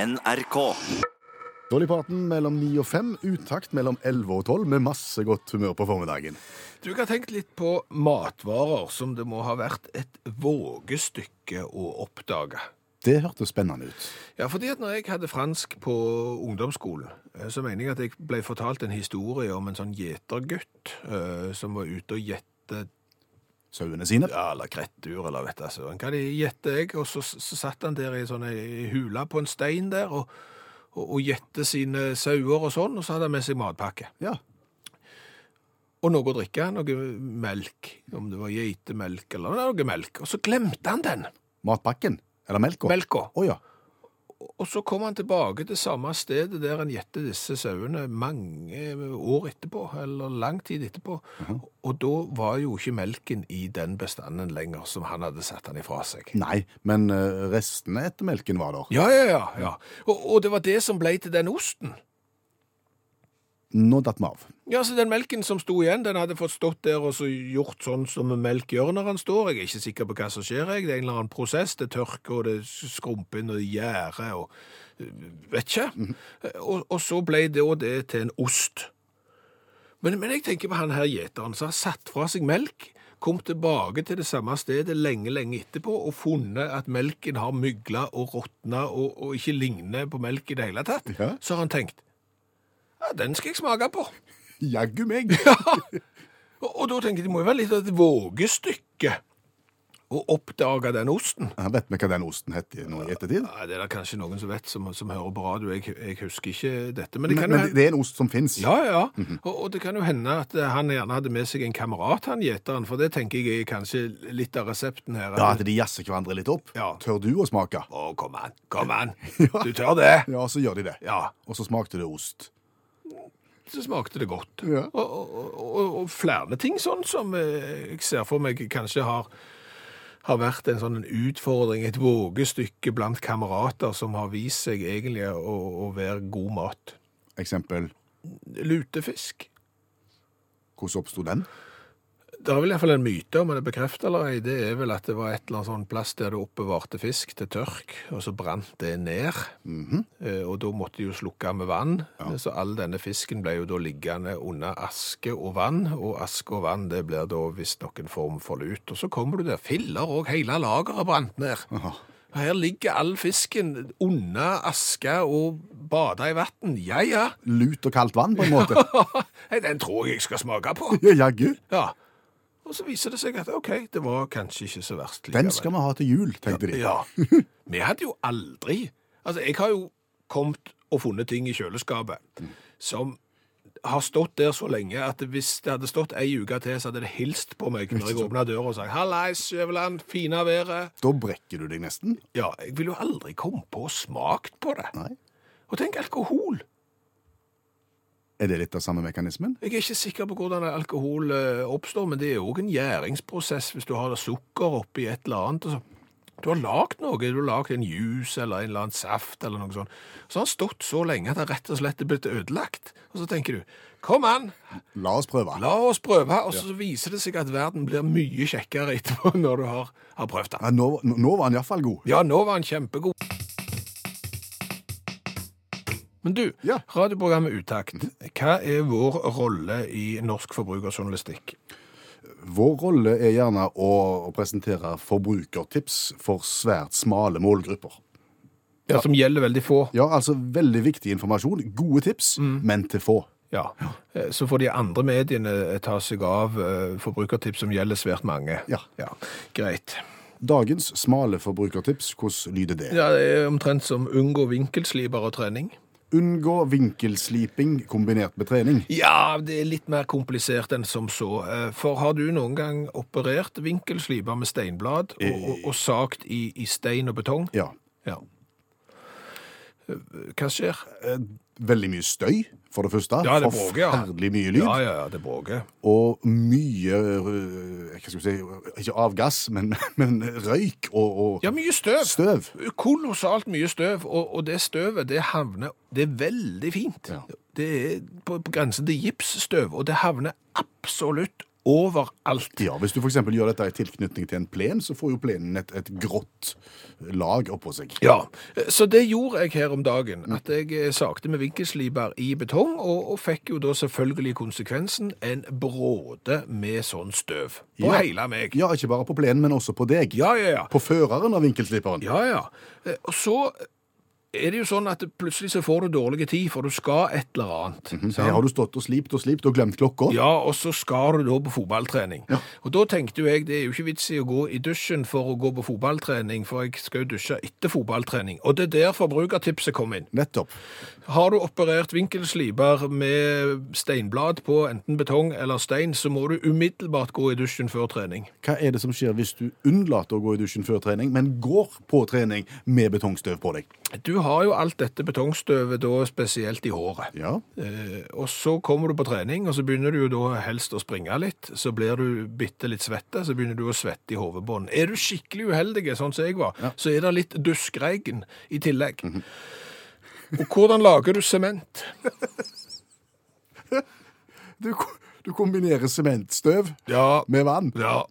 NRK. Dolly Parton mellom 9 og 5, utakt mellom 11 og 12, med masse godt humør på formiddagen. Du kan tenke litt på matvarer som det må ha vært et vågestykke å oppdage. Det hørtes spennende ut. Ja, fordi at når jeg hadde fransk på ungdomsskolen, eh, så mener jeg at jeg ble fortalt en historie om en sånn gjetergutt eh, som var ute og gjette Sauene sine. ja, eller krettur, eller vet jeg søren hva de gjetter jeg, og så, så satt han der i en sånn ei hule på en stein der, og, og, og gjette sine sauer og sånn, og så hadde han med seg matpakke. Ja. Og noe å drikke, noe melk, om det var geitemelk eller noe melk, og så glemte han den, Matpakken. Eller melka. melka. Å ja. Og så kom han tilbake til samme stedet der han gjette disse sauene mange år etterpå, eller lang tid etterpå. Og da var jo ikke melken i den bestanden lenger som han hadde satt den ifra seg. Nei, men eh, restene etter melken var der. Ja, ja, ja. ja. Og, og det var det som ble til den osten. Nå datt vi av. Ja, så den melken som sto igjen, den hadde fått stått der og så gjort sånn som melk gjør når han står. Jeg er ikke sikker på hva som skjer, jeg. Det er en eller annen prosess. Det tørker, og det skrumper inn, og det gjærer, og øh, Vet ikke. Og, og så ble det og det til en ost. Men, men jeg tenker på han her gjeteren som har satt fra seg melk, kom tilbake til det samme stedet lenge, lenge etterpå og funnet at melken har mygla og råtna og, og ikke ligner på melk i det hele tatt. Ja. Så har han tenkt ja, den skal jeg smake på. Jaggu meg! Og, og da tenker jeg, det må jo være litt av et vågestykke å oppdage den osten. Ja, vet vi hva den osten het i- nå i ettertid? Nei, det er det kanskje noen som vet, som, som hører på radio. Jeg, jeg husker ikke dette. Men det Men, men kan jo Mhm. det- hende... det er en ost som fins. Ja, ja. og, og det kan jo hende at eh, han gjerne hadde med seg en kamerat, han gjeteren, for det tenker jeg er kanskje litt av resepten her. Ja, at de jazzer hverandre litt opp. Ja. Tør du å smake? Å, kom an, kom an. Du tør det. Ja, så gjør de det. Ja, Og så smakte det ost. så smakte det godt. Ja. Og, og, og, og flere ting sånn som eh, jeg ser for meg kanskje har, har vært en sånn en utfordring, et vågestykke blant kamerater som har vist seg egentlig å, å være god mat. Eksempel. Lutefisk. Hvordan oppsto den? Det er vel iallfall en myte, om den er bekreftet eller ei, det er vel at det var et eller annet sånn plass der du oppbevarte fisk til tørk, og så brant det ned. Eh, Og da måtte de jo slukke med vann, Eh, så all denne fisken ble jo da liggende under aske og vann, og aske og vann det blir da visstnok en form for lut. Og så kommer du der, filler og hele lageret brant ned. Aha. Og Her ligger all fisken under aske og bader i vann. Ja, ja. Lut og kaldt vann, på en måte. Nei, Den tror jeg jeg skal smake på. Ja, Jaggu. Ja. Og så viser det seg at OK, det var kanskje ikke så verst. Den skal vi ha til jul, tenkte de. Ja. Vi hadde jo aldri Altså, jeg har jo kommet og funnet ting i kjøleskapet som har stått der så lenge at hvis det hadde stått ei uke til, så hadde det hilst på meg når jeg åpna døra og sa 'Hallais, Skjæveland, fina været'. Da brekker du deg nesten. Ja, jeg ville jo aldri kommet på og smakt på det. Nei. Og tenk alkohol. Er det litt av samme mekanismen? Jeg er ikke sikker på hvordan alkohol eh, oppstår, men det er òg en gjæringsprosess hvis du har sukker oppi et eller annet. og så- Du har lagd noe, du har lagd en juice eller en eller annen saft eller noe sånt. Så har den stått så lenge at den rett og slett er blitt ødelagt. Og så tenker du kom an, La oss prøve. la oss prøve. Og så viser det seg at verden blir mye kjekkere etterpå når du har, har prøvd den. Ja, nå, nå var han iallfall god. Ja, nå var han kjempegod. Men du, Ja. radioprogrammet Utakt, hva er vår rolle i norsk forbrukerjournalistikk? Vår rolle er gjerne å å presentere forbrukertips for svært smale målgrupper. Ja, som gjelder veldig få. Ja, altså veldig viktig informasjon. Gode tips, Mm. men til få. Ja. Eh, Så får de andre mediene ta seg av eh, forbrukertips som gjelder svært mange. Ja. Greit. Dagens smale forbrukertips, hvordan lyder det? Ja, det er omtrent som unngå vinkelsliber og trening. Unngå vinkelsliping kombinert med trening. Ja, det er litt mer komplisert enn som så. Eh, For har du noen gang operert vinkelsliber med steinblad og, og, og sagt i, i stein og betong? Ja. Ja. Eh, Hva skjer? Eh, Veldig mye støy, for det første. Ja, det bråker, ja. Forferdelig mye lyd. Ja, ja, ja, det bråker. Og mye eh, Hva skal vi si Ikke avgass, men, men røyk og, og Ja, mye støv. støv. Kolossalt mye støv, og, og det støvet det havner Det er veldig fint. Ja. Det er på, på grensen til gipsstøv, og det havner absolutt overalt. Ja, Hvis du for eksempel gjør dette i tilknytning til en plen, så får jo plenen et, et grått lag oppå seg. Ja, så det gjorde jeg her om dagen, Mm. at jeg eh, sakte med vinkelsliper i betong, og, og fikk jo da selvfølgelig konsekvensen en bråde med sånn støv på Ja. hele meg. Ja, ikke bare på plenen, men også på deg. Ja, ja, ja. På føreren av vinkelsliperen. Ja, ja. Eh, Og så er det jo sånn at plutselig så får du dårlig tid, for du skal et eller annet. sant? Her har du stått og slipt og slipt og glemt klokka. Ja, og så skar du da på fotballtrening. Og da tenkte jo jeg det er jo ikke vits i å gå i dusjen for å gå på fotballtrening, for jeg skal jo dusje etter fotballtrening. Og det er der forbrukertipset kom inn. Nettopp. Har du operert vinkelsliper med steinblad på enten betong eller stein, så må du umiddelbart gå i dusjen før trening. Hva er det som skjer hvis du unnlater å gå i dusjen før trening, men går på trening med betongstøv på deg? Du har jo alt dette betongstøvet da spesielt i håret. Ja. Eh, og så kommer du på trening, og så begynner du jo da helst å springe litt. Så blir du bitte litt svette, så begynner du å svette i hovedbånd. Er du skikkelig uheldig, sånn som jeg var, så er det litt duskregn i tillegg. Mhm. Og hvordan lager du sement? Du, ko- du kombinerer sementstøv Ja, med vann. ja.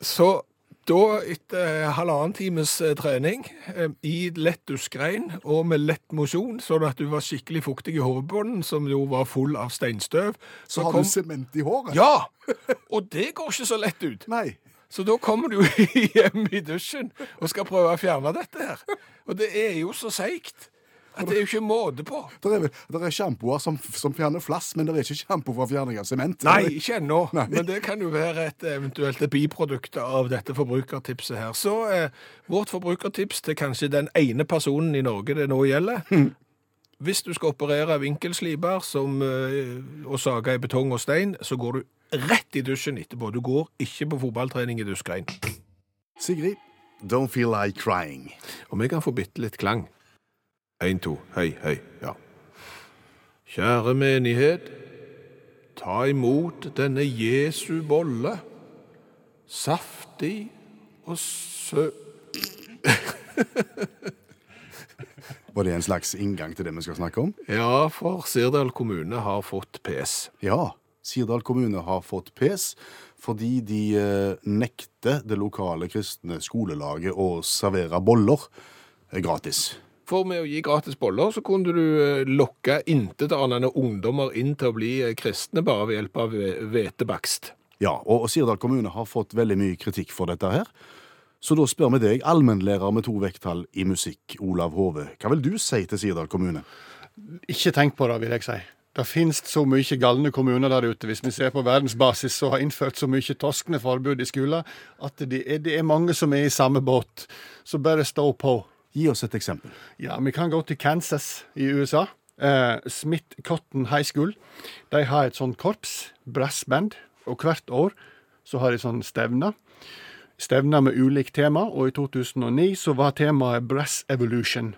Så da, etter halvannen times eh, trening, eh, i lett duskregn og med lett mosjon, sånn at du var skikkelig fuktig i hovedbånden, som jo var full av steinstøv, Så har du sement i håret. Ja! Og det går ikke så lett ut. Nei. Så da kommer du hjem i dusjen og skal prøve å fjerne dette her. Og det er jo så seigt at det er jo ikke måte på. Det er, vel- der er sjampoer som, som fjerner flass, men det er ikke sjampo for fjerning av sement. Nei, ikke ennå. Nei. Men det kan jo være et eventuelt biprodukt av dette forbrukertipset her. Så eh, vårt forbrukertips til kanskje den ene personen i Norge det nå gjelder. Hvis du skal operere vinkelsliper som, eh, og sage i betong og stein, så går du rett i dusjen etterpå. Du går ikke på fotballtrening i duskregn. Sigrid, don't feel like crying. Om jeg kan få bitte litt klang. Én, to, høy, høy, ja. Kjære menighet, ta imot denne Jesu bolle, saftig og sø... Var det en slags inngang til det vi skal snakke om? Ja, for Sirdal kommune har fått PS. Ja, Sirdal kommune har fått pes fordi de eh, nekter det lokale kristne skolelaget å servere boller eh, gratis. For med å gi gratis boller, så kunne du eh, lokke intetanende ungdommer inn til å bli eh, kristne bare ved hjelp av eh, hvetebakst. Ja, og og Sirdal kommune har fått veldig mye kritikk for dette her. Så da spør vi deg, allmennlærer med to vekttall i musikk, Olav Hove, hva vil du si til Sirdal kommune? Ikke tenk på det, vil jeg si. Det finnes så mye galne kommuner der ute. Hvis vi ser på verdensbasis, så har innført så mye toskende forbud i skolen at det er, det er mange som er i samme båt. Så bare stå på. Gi oss et eksempel. Ja, vi kan gå til Kansas i USA. Eh, Smith Cotton High School. De har et sånn korps, brassband, og hvert år så har de sånn stevne. Stevner med ulikt tema, og i 2009 så var temaet Brass Evolution.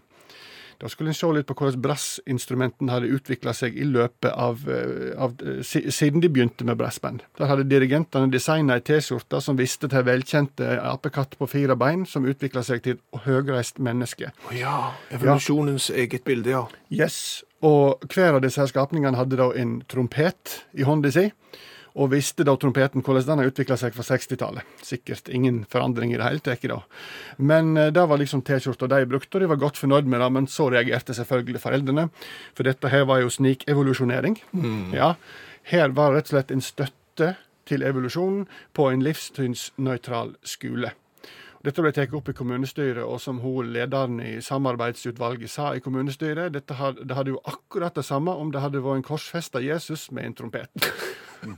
Da skulle en se litt på hvordan brassinstrumenten hadde utvikla seg i løpet av, eh, av eh, si- siden de begynte med brassband. Der hadde dirigentene designa ei T-skjorte som viste til velkjente apekatt på fire bein, som utvikla seg til et høgreist menneske. Å ja, evolusjonens eget bilde, ja. Yes, og hver av disse her skapningene hadde da en trompet i hånda si, og visste da trompeten hvordan den har utvikla seg fra 60-tallet. Sikkert ingen forandring i det hele tatt da. Men eh, det var liksom T-skjorta de brukte, og de var godt fornøyd med det, men så reagerte selvfølgelig foreldrene, for dette her var jo snikevolusjonering. Ja, her var rett og slett en støtte til evolusjonen på en livssynsnøytral skole. Dette ble tatt opp i kommunestyret, og som hun lederen i samarbeidsutvalget sa i kommunestyret, dette hadde, det hadde jo akkurat det samme om det hadde vært en korsfesta Jesus med en trompet.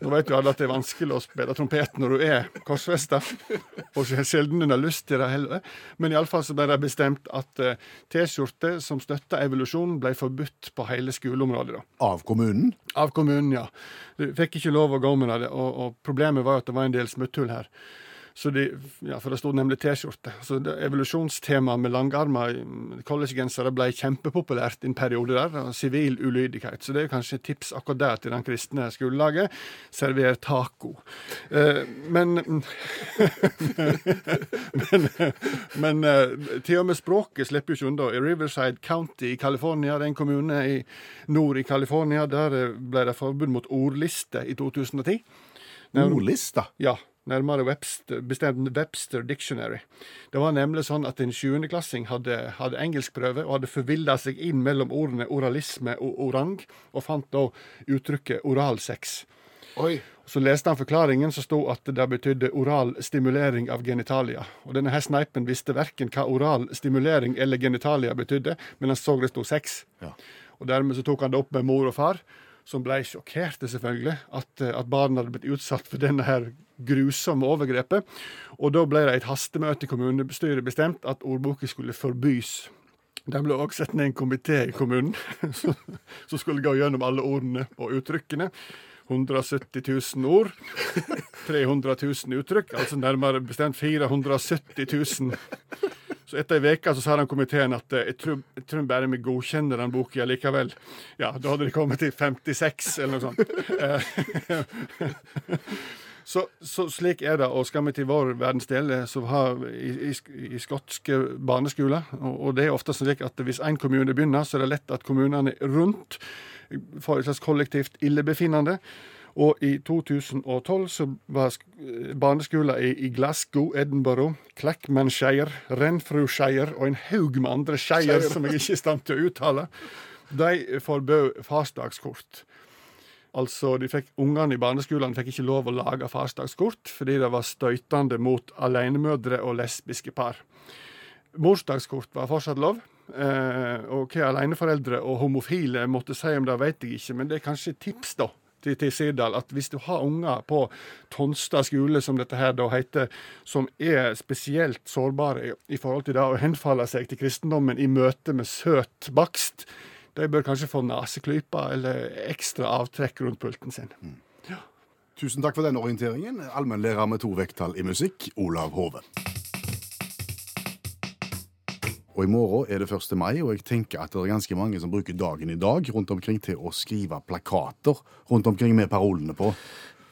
Nå vet jo alle at det er vanskelig å spille trompet når du er korsfesta, og så er det sjelden en har lyst til det heller. Men iallfall så ble det bestemt at eh, T-skjorter som støtta evolusjonen, ble forbudt på hele skoleområdet. da. Av kommunen? Av kommunen, ja. Du fikk ikke lov å gå med det, og, og problemet var jo at det var en del smutthull her. Så de, ja, For det stod nemlig T-skjorte. Så det- Evolusjonstemaet med langarmer mm, collegegensere ble kjempepopulært en periode der. og Sivil ulydighet. Så det er jo kanskje et tips akkurat der til den kristne skolelaget. Server taco. Eh, men men eh, til og med språket slipper jo ikke unna. I Riverside County i California, det er en kommune i nord i California, der eh, ble det forbud mot ordliste i 2010. Ordlista. Ja, nærmere Webster, bestemt Webster Dictionary. Det var nemlig sånn at en sjuendeklassing hadde, hadde engelskprøve og hadde forvilla seg inn mellom ordene oralisme og orang, og fant da uttrykket oralsex. Oi. Så leste han forklaringen som sto at det betydde oral stimulering av genitalia. Og denne her sneipen visste verken hva oral stimulering eller genitalia betydde, men han så det sto sex. Ja. Og dermed så tok han det opp med mor og far, som ble sjokkerte selvfølgelig, at, eh, at barna hadde blitt utsatt for denne her grusomme overgrepet. Og da ble det et hastemøte i kommunestyret bestemt at ordboka skulle forbys. De ble også satt ned en komité i kommunen som som skulle gå gjennom alle ordene og uttrykkene. 170 000 ord. 300 000 uttrykk, altså nærmere bestemt 470 000. Så etter ei uke sa den komiteen at eh, jeg tror, jeg tror bare vi godkjenner den boka likevel. Ja, da hadde de kommet til 56 eller noe sånt. Eh, Så, så slik er det, og skal vi til vår verdensdel, eh, så har i, i, sk- i skotske barneskoler og, og det er ofte slik at hvis én kommune begynner, så er det lett at kommunene rundt får et slags kollektivt illebefinnende. Og i 2012 så var sk- barneskoler i, i Glasgow, Edinburgh, Clackmanshire, Renfrewshire og en haug med andre shire som jeg ikke er i stand til å uttale, de forbød farsdagskort. Altså, de fikk, Ungene i barneskolen fikk ikke lov å lage farsdagskort fordi det var støytende mot alenemødre og lesbiske par. Morsdagskort var fortsatt lov. Eh, og hva aleneforeldre og homofile måtte si om det, vet jeg ikke, men det er kanskje et tips da, til, til Sirdal at hvis du har unger på Tonstad skole, som dette her da heter, som er spesielt sårbare i, i forhold til det å henfalle seg til kristendommen i møte med søt bakst, de bør kanskje få neseklypa eller ekstra avtrekk rundt pulten sin. Tusen takk for denne orienteringen. Allmennlærer med to vekttall i musikk, Olav Hove. Og I morgen er det 1. mai, og jeg tenker at det er ganske mange som bruker dagen i dag rundt omkring til å skrive plakater rundt omkring med parolene på,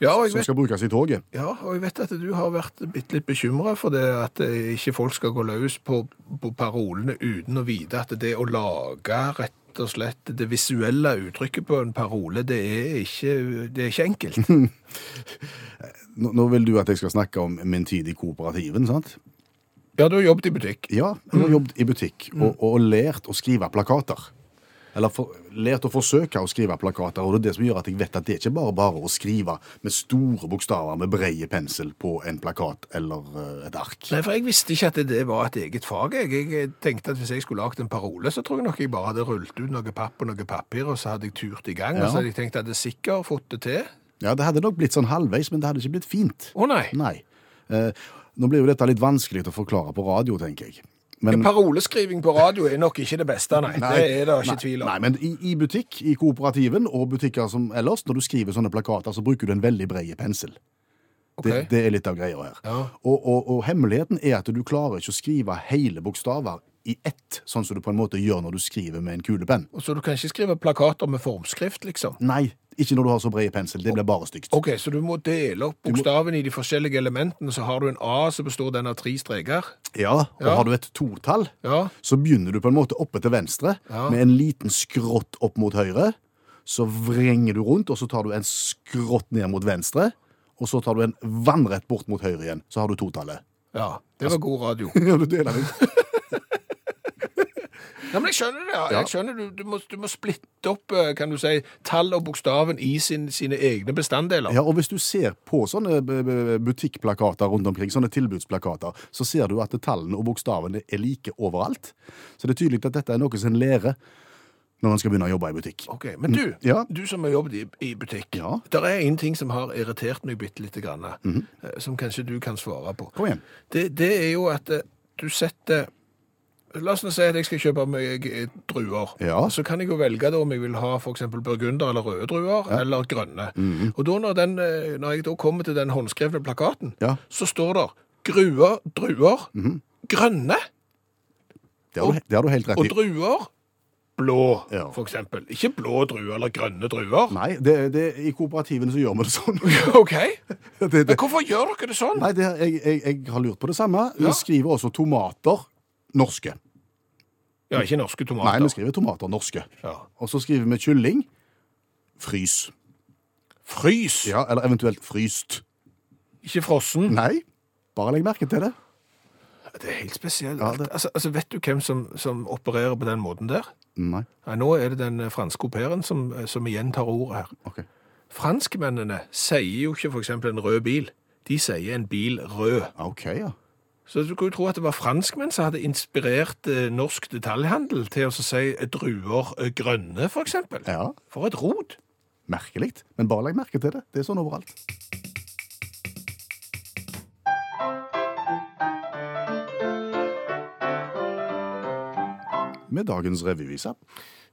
Ja, og jeg som vet, skal brukes i toget. ja, og jeg vet at du har vært bitte litt bekymra for det at eh, ikke folk skal gå løs på, på parolene uten å vite at det å lage rett og slett det visuelle uttrykket på en parole, det er ikke, det er ikke enkelt. Nå, nå vil du at jeg skal snakke om min tid i kooperativen, sant? Ja, du har jobbet i butikk. Ja, jeg Mm. har jobbet i butikk og, og lært å skrive plakater. Eller for, lært å forsøke å skrive plakater, og det er det som gjør at jeg vet at det er ikke bare bare å skrive med store bokstaver med breie pensel på en plakat eller eh, et ark. Nei, for jeg visste ikke at det var et eget fag. Jeg, jeg tenkte at hvis jeg skulle lagt en parole, så tror jeg nok jeg bare hadde rullet ut noe papp og noe papir, og så hadde jeg turt i gang, Ja. og så hadde jeg tenkt at jeg sikkert fått det til. Ja, det hadde nok blitt sånn halvveis, men det hadde ikke blitt fint. Å nei, Nei. Eh, nå blir jo dette litt vanskelig å forklare på radio, tenker jeg. Men, paroleskriving på radio er nok ikke det beste, nei. det er det ikke nei, tvil om. Nei, men i, i butikk, i kooperativen og butikker som ellers, når du skriver sånne plakater, så bruker du en veldig brei pensel. Ok. Det, det er litt av greia her. Ja. Og, og, og hemmeligheten er at du klarer ikke å skrive hele bokstaver i ett, sånn som du på en måte gjør når du skriver med en kulepenn. Og Så du kan ikke skrive plakater med formskrift, liksom? Nei, ikke når du har så brei pensel. Det blir bare stygt. Ok, så du må dele opp bokstavene i de forskjellige elementene, så har du en A som består den av tre streker. Ja, og Ja. har du et totall, Ja, så begynner du på en måte oppe til venstre, Ja. med en liten skrått opp mot høyre. Så vrenger du rundt, og så tar du en skrått ned mot venstre. Og så tar du en vannrett bort mot høyre igjen. Så har du totallet. ja. Det var god radio. Ja, du deler det. Ja, men jeg skjønner det. ja. Ja. Jeg skjønner du, du, må, du må splitte opp eh, kan du si, tall og bokstaven i sin, sine egne bestanddeler. Ja, og hvis du ser på sånne eh, b- b- butikkplakater rundt omkring, sånne tilbudsplakater, så ser du at tallene og bokstavene er like overalt. Så det er tydelig at dette er noe som en lærer når en skal begynne å jobbe i butikk. Ok, Men du, Mm, Ja. du som har jobbet i, i butikk, Ja. Mhm. det er en ting som har irritert meg bitte lite grann, eh, som kanskje du kan svare på. Kom igjen. Det, det er jo at eh, du setter La oss nå si at jeg skal kjøpe meg eh, druer. Ja. Så kan jeg jo velge da om jeg vil ha f.eks. burgunder eller røde druer, eller grønne. Mhm. Og da når, den, eh, når jeg da kommer til den håndskrevne plakaten, Ja. Mhm. så står det gruer, druer, grønne, Det har du, det har du helt rett og i. druer blå, Ja. for eksempel. Ikke blå druer eller grønne druer. Nei, det, det, i kooperativen så gjør vi det sånn. OK? Det, det, Men hvorfor gjør dere det sånn? Nei, det, jeg, jeg, jeg har lurt på det samme. Vi Ja. skriver også tomater norske. Ja, ikke norske Nei, tomater. vi skriver tomater norske. ja. Og så skriver vi kylling. Frys. Frys. Ja, Eller eventuelt fryst. Ikke frossen. Nei, bare legg merke til det. Det er helt spesielt. Ja, det- altså, altså, vet du hvem som, som opererer på den måten der? Nei, Nei, nå er det den eh, franske au pairen som, eh, som igjen tar ordet her. ok. Franskmennene sier jo ikke for eksempel en rød bil. De sier en bil rød. Ja, Ah, Ok, ja. Så du kunne jo tro at det var franskmenn som hadde inspirert eh, norsk detaljhandel til å så si eh, druer eh, grønne, for eksempel. Ja, For et rot! merkelig. Men bare legg merke til det. Det er sånn overalt. Med dagens revyvise.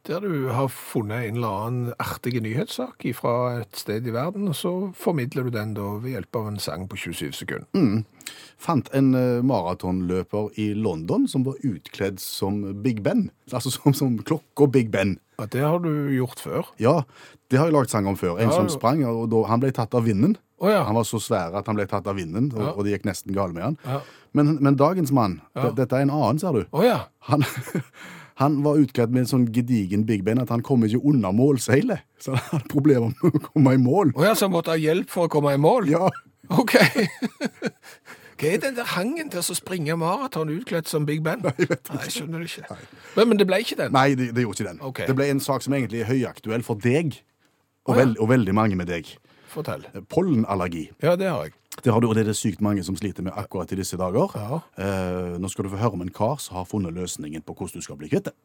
Der du har funnet en eller annen artig nyhetssak fra et sted i verden, og så formidler du den da ved hjelp av en sang på 27 sekunder. Mm. fant en eh, maratonløper i London som var utkledd som Big Ben. Altså som, som klokka Big Ben. Ja, det har du gjort før. Ja, det har jeg lagd sang om før. En Ja, som jo. sprang, og da, han ble tatt av vinden. Å ja. Han var så svær at han ble tatt av vinden, og, Ja. og det gikk nesten galt med han. Ja. Men, men dagens mann, Ja. d- dette er en annen, ser du. Å ja. Han, han var utkledd med en sånn gedigen Big Ben at han kom ikke unna målseilet. Så han hadde problemer med å komme i mål. Å ja, så han måtte ha hjelp for å komme i mål? Ja, OK. Hva er den der hangen til å springe maraton utkledd som Big Ben? Nei, jeg vet ikke. Nei, jeg skjønner det ikke. Men, men det ble ikke den? Nei, det, det gjorde ikke den. Ok. Det ble en sak som egentlig er høyaktuell for deg, og, Å, ja. vel- og veldig mange med deg. Fortell. Pollenallergi. Ja, det har jeg. Det har du, og det er det sykt mange som sliter med akkurat i disse dager. Ja. Eh, nå skal du få høre om en kar som har funnet løsningen på hvordan du skal bli kvitt det.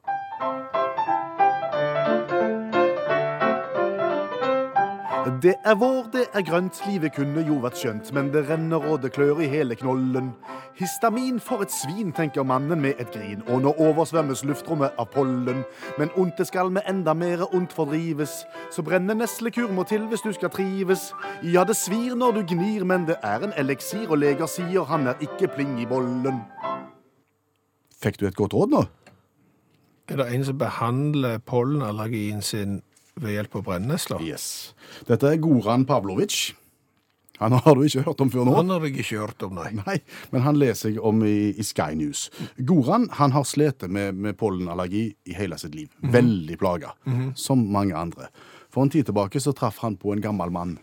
Det er vår, det er grønt, livet kunne jo vært skjønt, men det renner og det klør i hele knollen. Histamin for et svin, tenker mannen med et grin, og nå oversvømmes luftrommet av pollen. Men ondte skal med enda mere ondt fordrives, så brennende neslekur må til hvis du skal trives. Ja, det svir når du gnir, men det er en eliksir, og leger sier han er ikke pling i bollen. Fikk du et godt råd nå? Er det en som behandler pollenallergien sin ved hjelp av brennesler? Yes. Dette er Goran Pavlovic. Han har du ikke hørt om før nå. Han har jeg ikke hørt om, nei. Nei, men han leser jeg om i, i Sky News. Goran han har slitt med, med pollenallergi i hele sitt liv. Veldig plaga, som mange andre. For en tid tilbake så traff han på en gammel mann.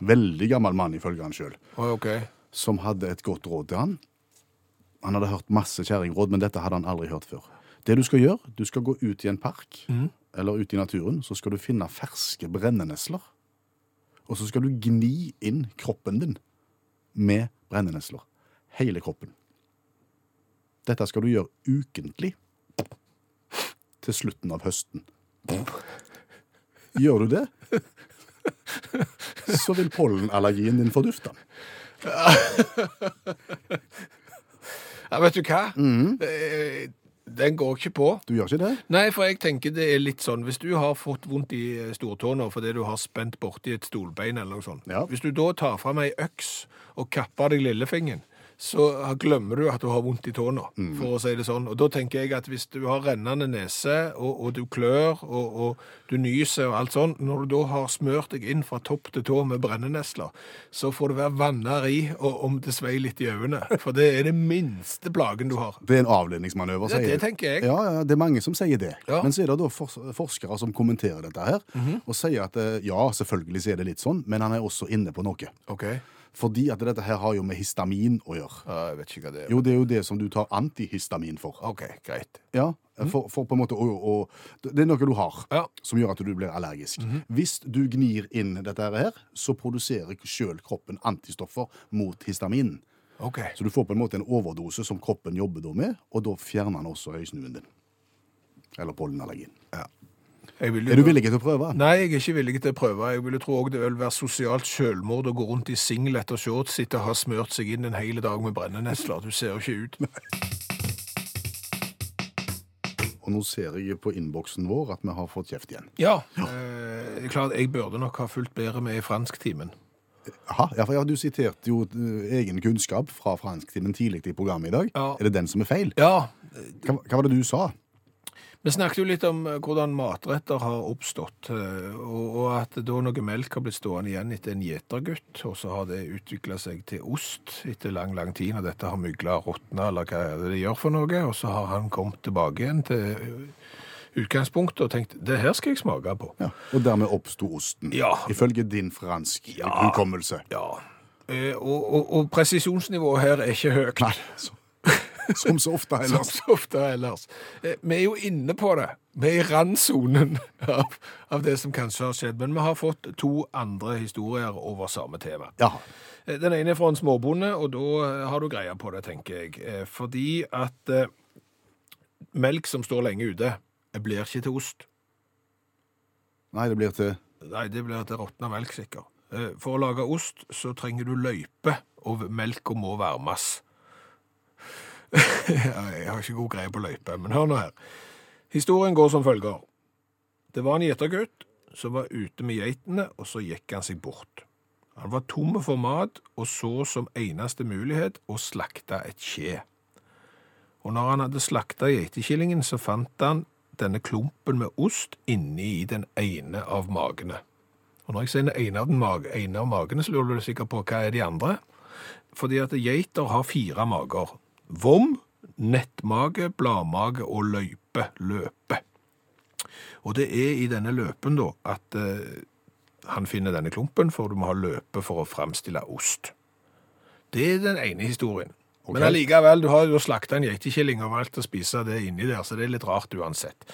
Veldig gammel mann, ifølge han sjøl, Å, OK. som hadde et godt råd til han. Han hadde hørt masse kjerringråd, men dette hadde han aldri hørt før. Det du skal gjøre, du skal gå ut i en park eller ut i naturen, så skal du finne ferske brennenesler. Og så skal du gni inn kroppen din med brennenesler. Hele kroppen. Dette skal du gjøre ukentlig til slutten av høsten. Gjør du det, så vil pollenallergien din fordufte. Ja, vet du hva? Eh, Den går ikke på. Du gjør ikke det? Nei, for jeg tenker det er litt sånn Hvis du har fått vondt i eh, stortåna fordi du har spent borti et stolbein eller noe sånt Ja. Hvis du da tar fram ei øks og kapper deg lillefingeren, så glemmer du at du har vondt i tåna, Mm. for å si det sånn. Og da tenker jeg at hvis du har rennende nese, og, og du klør, og, og du nyser og alt sånn, når du da har smørt deg inn fra topp til tå med brennenesler, så får du være vanner i og om det svei litt i øynene. For det er det minste plagen du har. Det er en avledningsmanøver, Ja, sier det du. tenker jeg. Ja, ja, det er mange som sier det. Ja. Mhm. Men så er det da fors forskere som kommenterer dette her, og sier at eh, ja, selvfølgelig så er det litt sånn, men han er også inne på noe. OK? Fordi at dette her har jo med histamin å gjøre. Ja, jeg vet ikke hva det er. Jo, det er jo det som du tar antihistamin for. OK, greit. Ja, for, for på en måte å, å Det er noe du har Mhm. Ja. Mhm. som gjør at du blir allergisk. Hvis du gnir inn dette her, så produserer sjøl kroppen antistoffer mot histamin. OK. Så du får på en måte en overdose som kroppen jobber da med, og da fjerner han også høysnuen din. Eller pollenallergien. Jeg vil jo Er du villig til å prøve? Nei, jeg er ikke villig til å prøve. Jeg ville tro òg det vil være sosialt selvmord å gå rundt i singlet og shorts etter å ha smørt seg inn en hel dag med brennenesler. Du ser jo ikke ut. Og nå ser jeg på innboksen vår at vi har fått kjeft igjen. Ja. Eh, klart, jeg burde nok ha fulgt bedre med i fransktimen. Aha, ja, for ja, Du siterte jo eh, egen kunnskap fra fransktimen tidlig i programmet i dag. Ja. Er det den som er feil? Ja. Hva, hva var det du sa? Vi snakket jo litt om eh, hvordan matretter har oppstått, eh, og, og at da noe melk har blitt stående igjen etter en gjetergutt, og så har det utvikla seg til ost etter lang, lang tid, og dette har mygla, råtna eller hva er det det gjør for noe, og så har han kommet tilbake igjen til eh, utgangspunktet og tenkt det her skal jeg smake på. Ja, og dermed oppsto osten. Ja. Ifølge din fransk Ja. hukommelse. Ja. Eh, Og, og, og presisjonsnivået her er ikke høyt. Nei, så, som så ofte Som ellers. så ofte ellers. Eh, Vi er jo inne på det. Vi er i randsonen av, av det som kanskje har skjedd. Men vi har fått to andre historier over samme tema. Ja. Eh, Den ene er fra en småbonde, og da eh, har du greia på det, tenker jeg. Eh, Fordi at eh, melk som står lenge ute, eh, blir ikke til ost. Nei, det blir til Nei, det blir til råtna melk, sikkert. Eh, For å lage ost, så trenger du løype, og melka må varmes. Jeg har ikke god greie på løype, men hør nå her. Historien går som følger. Det var en gjetergutt som var ute med geitene, og så gikk han seg bort. Han var tom for mat, og så som eneste mulighet å slakte et skje. Og når han hadde slakta geitekillingen, så fant han denne klumpen med ost inni i den ene av magene. Og når jeg sier den ene av, den mag ene av magene, så lurer du sikkert på hva er de andre? Fordi at geiter har fire mager. Vom, nettmage, bladmage og løype, løpe. Og det er i denne løpen da at eh, han finner denne klumpen, for du må ha løpe for å fremstille ost. Det er den ene historien. Ok. Men allikevel, du har jo slakta en geitekilling og valgt å spise det inni der, så det er litt rart uansett.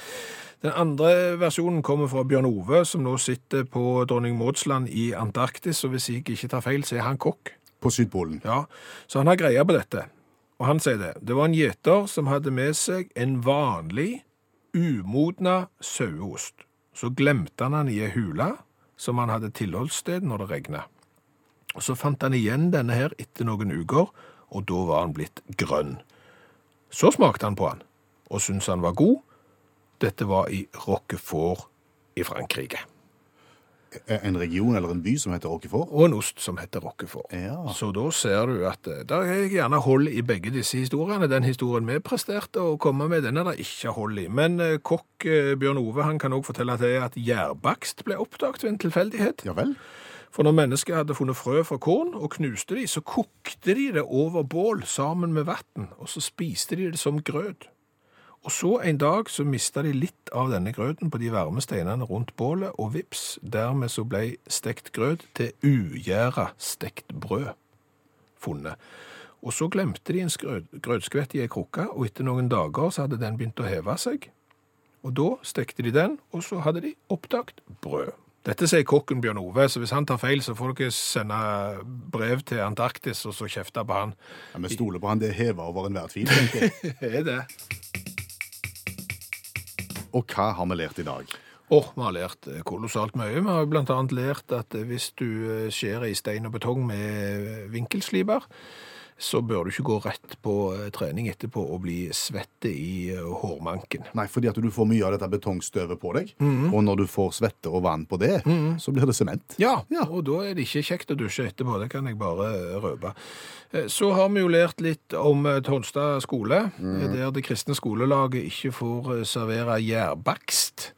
Den andre versjonen kommer fra Bjørn Ove, som nå sitter på Dronning Mauds land i Antarktis, og hvis jeg ikke tar feil, så er han kokk. på Sydpolen. Ja, så han har greia på dette. Og han sier det. Det var en gjeter som hadde med seg en vanlig, umodna saueost. Så glemte han han i ei hule som han hadde tilholdssted når det regna. Og så fant han igjen denne her etter noen uker, og da var han blitt grønn. Så smakte han på han, og syntes han var god. Dette var i Roquefort i Frankrike. En region eller en by som heter Rockefort. og en ost som heter Roquefort. Ja. Så da ser du at eh, der er gjerne hold i begge disse historiene. Den historien vi presterte å komme med, den er det ikke hold i. Men eh, kokk eh, Bjørn Ove han kan også fortelle til at gjærbakst ble oppdaget ved en tilfeldighet. Ja vel? For når mennesket hadde funnet frø fra korn og knuste de, så kokte de det over bål sammen med vann, og så spiste de det som grøt. Og så en dag så mista de litt av denne grøten på de varme steinene rundt bålet, og vips, dermed så ble stekt grøt til ugjæra stekt brød funnet. Og så glemte de en skrø- grøtskvett i ei krukke, og etter noen dager så hadde den begynt å heve seg. Og da stekte de den, og så hadde de oppdagt brød. Dette sier kokken Bjørn Ove, så hvis han tar feil, så får dere sende brev til Antarktis og så kjefte på han. Ja, Vi stoler på han. Det er heva over enhver tvil. tenker jeg. Er det? Og hva har vi lært i dag? Åh, vi har lært kolossalt mye. Vi har blant annet lært at hvis du eh, skjærer i stein og betong med eh, vinkelsliber, så bør du ikke gå rett på eh, trening etterpå og bli svette i eh, hårmanken. Nei, fordi at du får mye av dette betongstøvet på deg, og når du får svette og vann på det, så blir det sement. Ja, og da er det ikke kjekt å dusje etterpå, det kan jeg bare røpe. Eh, Så har vi jo lært litt om eh, Tonstad skole, eh, der det kristne skolelaget ikke får eh, servere gjærbakst.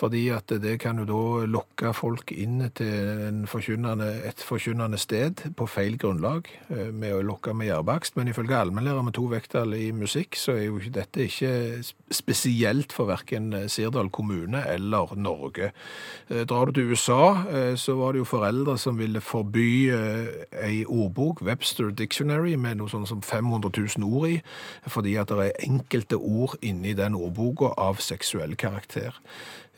Fordi at det kan jo da lokke folk inn til en forkynnende, et forkynnende sted på feil grunnlag eh, med å lokke med gjærbakst. Men ifølge allmennlærer med to vekttall i musikk, så er jo ikke- dette ikke sp- spesielt for verken Sirdal kommune eller Norge. Eh, Drar du til USA, eh, så var det jo foreldre som ville forby eh, ei ordbok, Webster Dictionary, med noe sånn som 500 000 ord i, fordi at det er enkelte ord inni den ordboka av seksuell karakter.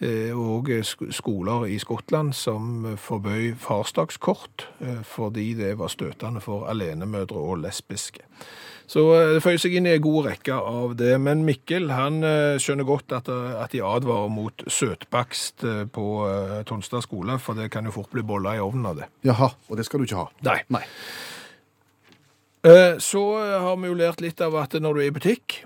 Eh, Og sk- skoler i Skottland som forbøy farsdagskort eh, fordi det var støtende for alenemødre og lesbiske. Så eh, det føyer seg inn i en god rekke av det. Men Mikkel han eh, skjønner godt at, eh, at de advarer mot søtbakst eh, på eh, Tonstad skole, for det kan jo fort bli boller i ovnen av det. Jaha, og det skal du ikke ha. Nei. Nei. Eh, Så eh, har vi jo lært litt av at når du er i butikk,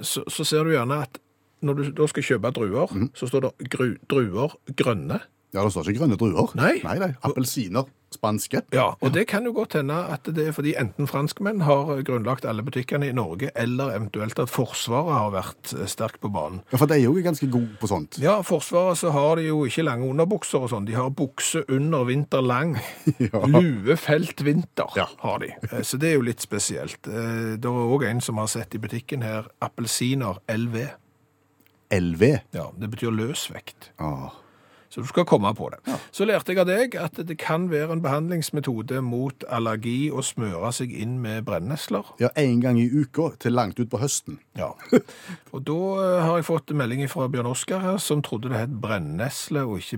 så, så ser du gjerne at når du da skal kjøpe druer, så står det gru, druer grønne. Ja, det står ikke grønne druer. Nei. Nei, nei. Appelsiner. Spanske. Ja, og det kan jo godt hende at det er fordi enten franskmenn har eh, grunnlagt alle butikkene i Norge, eller eventuelt at Forsvaret har vært eh, sterkt på banen. Ja, for de er jo ganske gode på sånt. Ja, Forsvaret så har de jo ikke lange underbukser og sånn. De har bukse under vinter lang. Ja. Luefelt vinter Ja. har de. Eh, Så det er jo litt spesielt. Eh, Det er òg en som har sett i butikken her appelsiner LV. LV. Ja, Det betyr løsvekt. Ah. Så du skal komme på det. Så lærte jeg av deg at det kan være en behandlingsmetode mot allergi å smøre seg inn med brennesler. Ja, én gang i uka til langt utpå høsten. Ja. Og da eh, har jeg fått melding fra Bjørn Oskar her, som trodde det het brennesle og ikke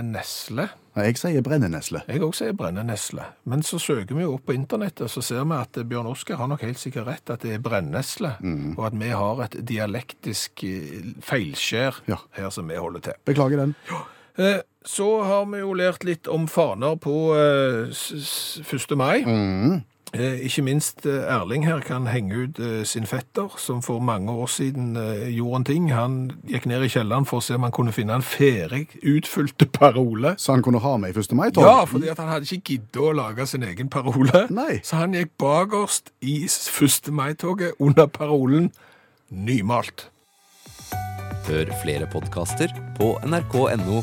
brennenesle. Nei, jeg sier brennenesle. Jeg også sier brennenesle. Men så søker vi jo opp på internettet, så ser vi at Bjørn Oskar har nok helt sikkert rett at det er brennesle, og at vi har et dialektisk eh, feilskjær Ja. her som vi holder til. Beklager den. Eh, Så har vi jo lært litt om faner på eh, s- s- 1. mai. Mm. Eh, Ikke minst eh, Erling her kan henge ut eh, sin fetter, som for mange år siden eh, gjorde en ting. Han gikk ned i kjelleren for å se om han kunne finne en ferdig utfylt parole. Så han Sånn kunne ha med i 1. mai, Tom? Ja, fordi at han hadde ikke giddet å lage sin egen parole. Nei. Så han gikk bakerst i 1. mai-toget under parolen 'nymalt'. Hør flere podkaster på nrk.no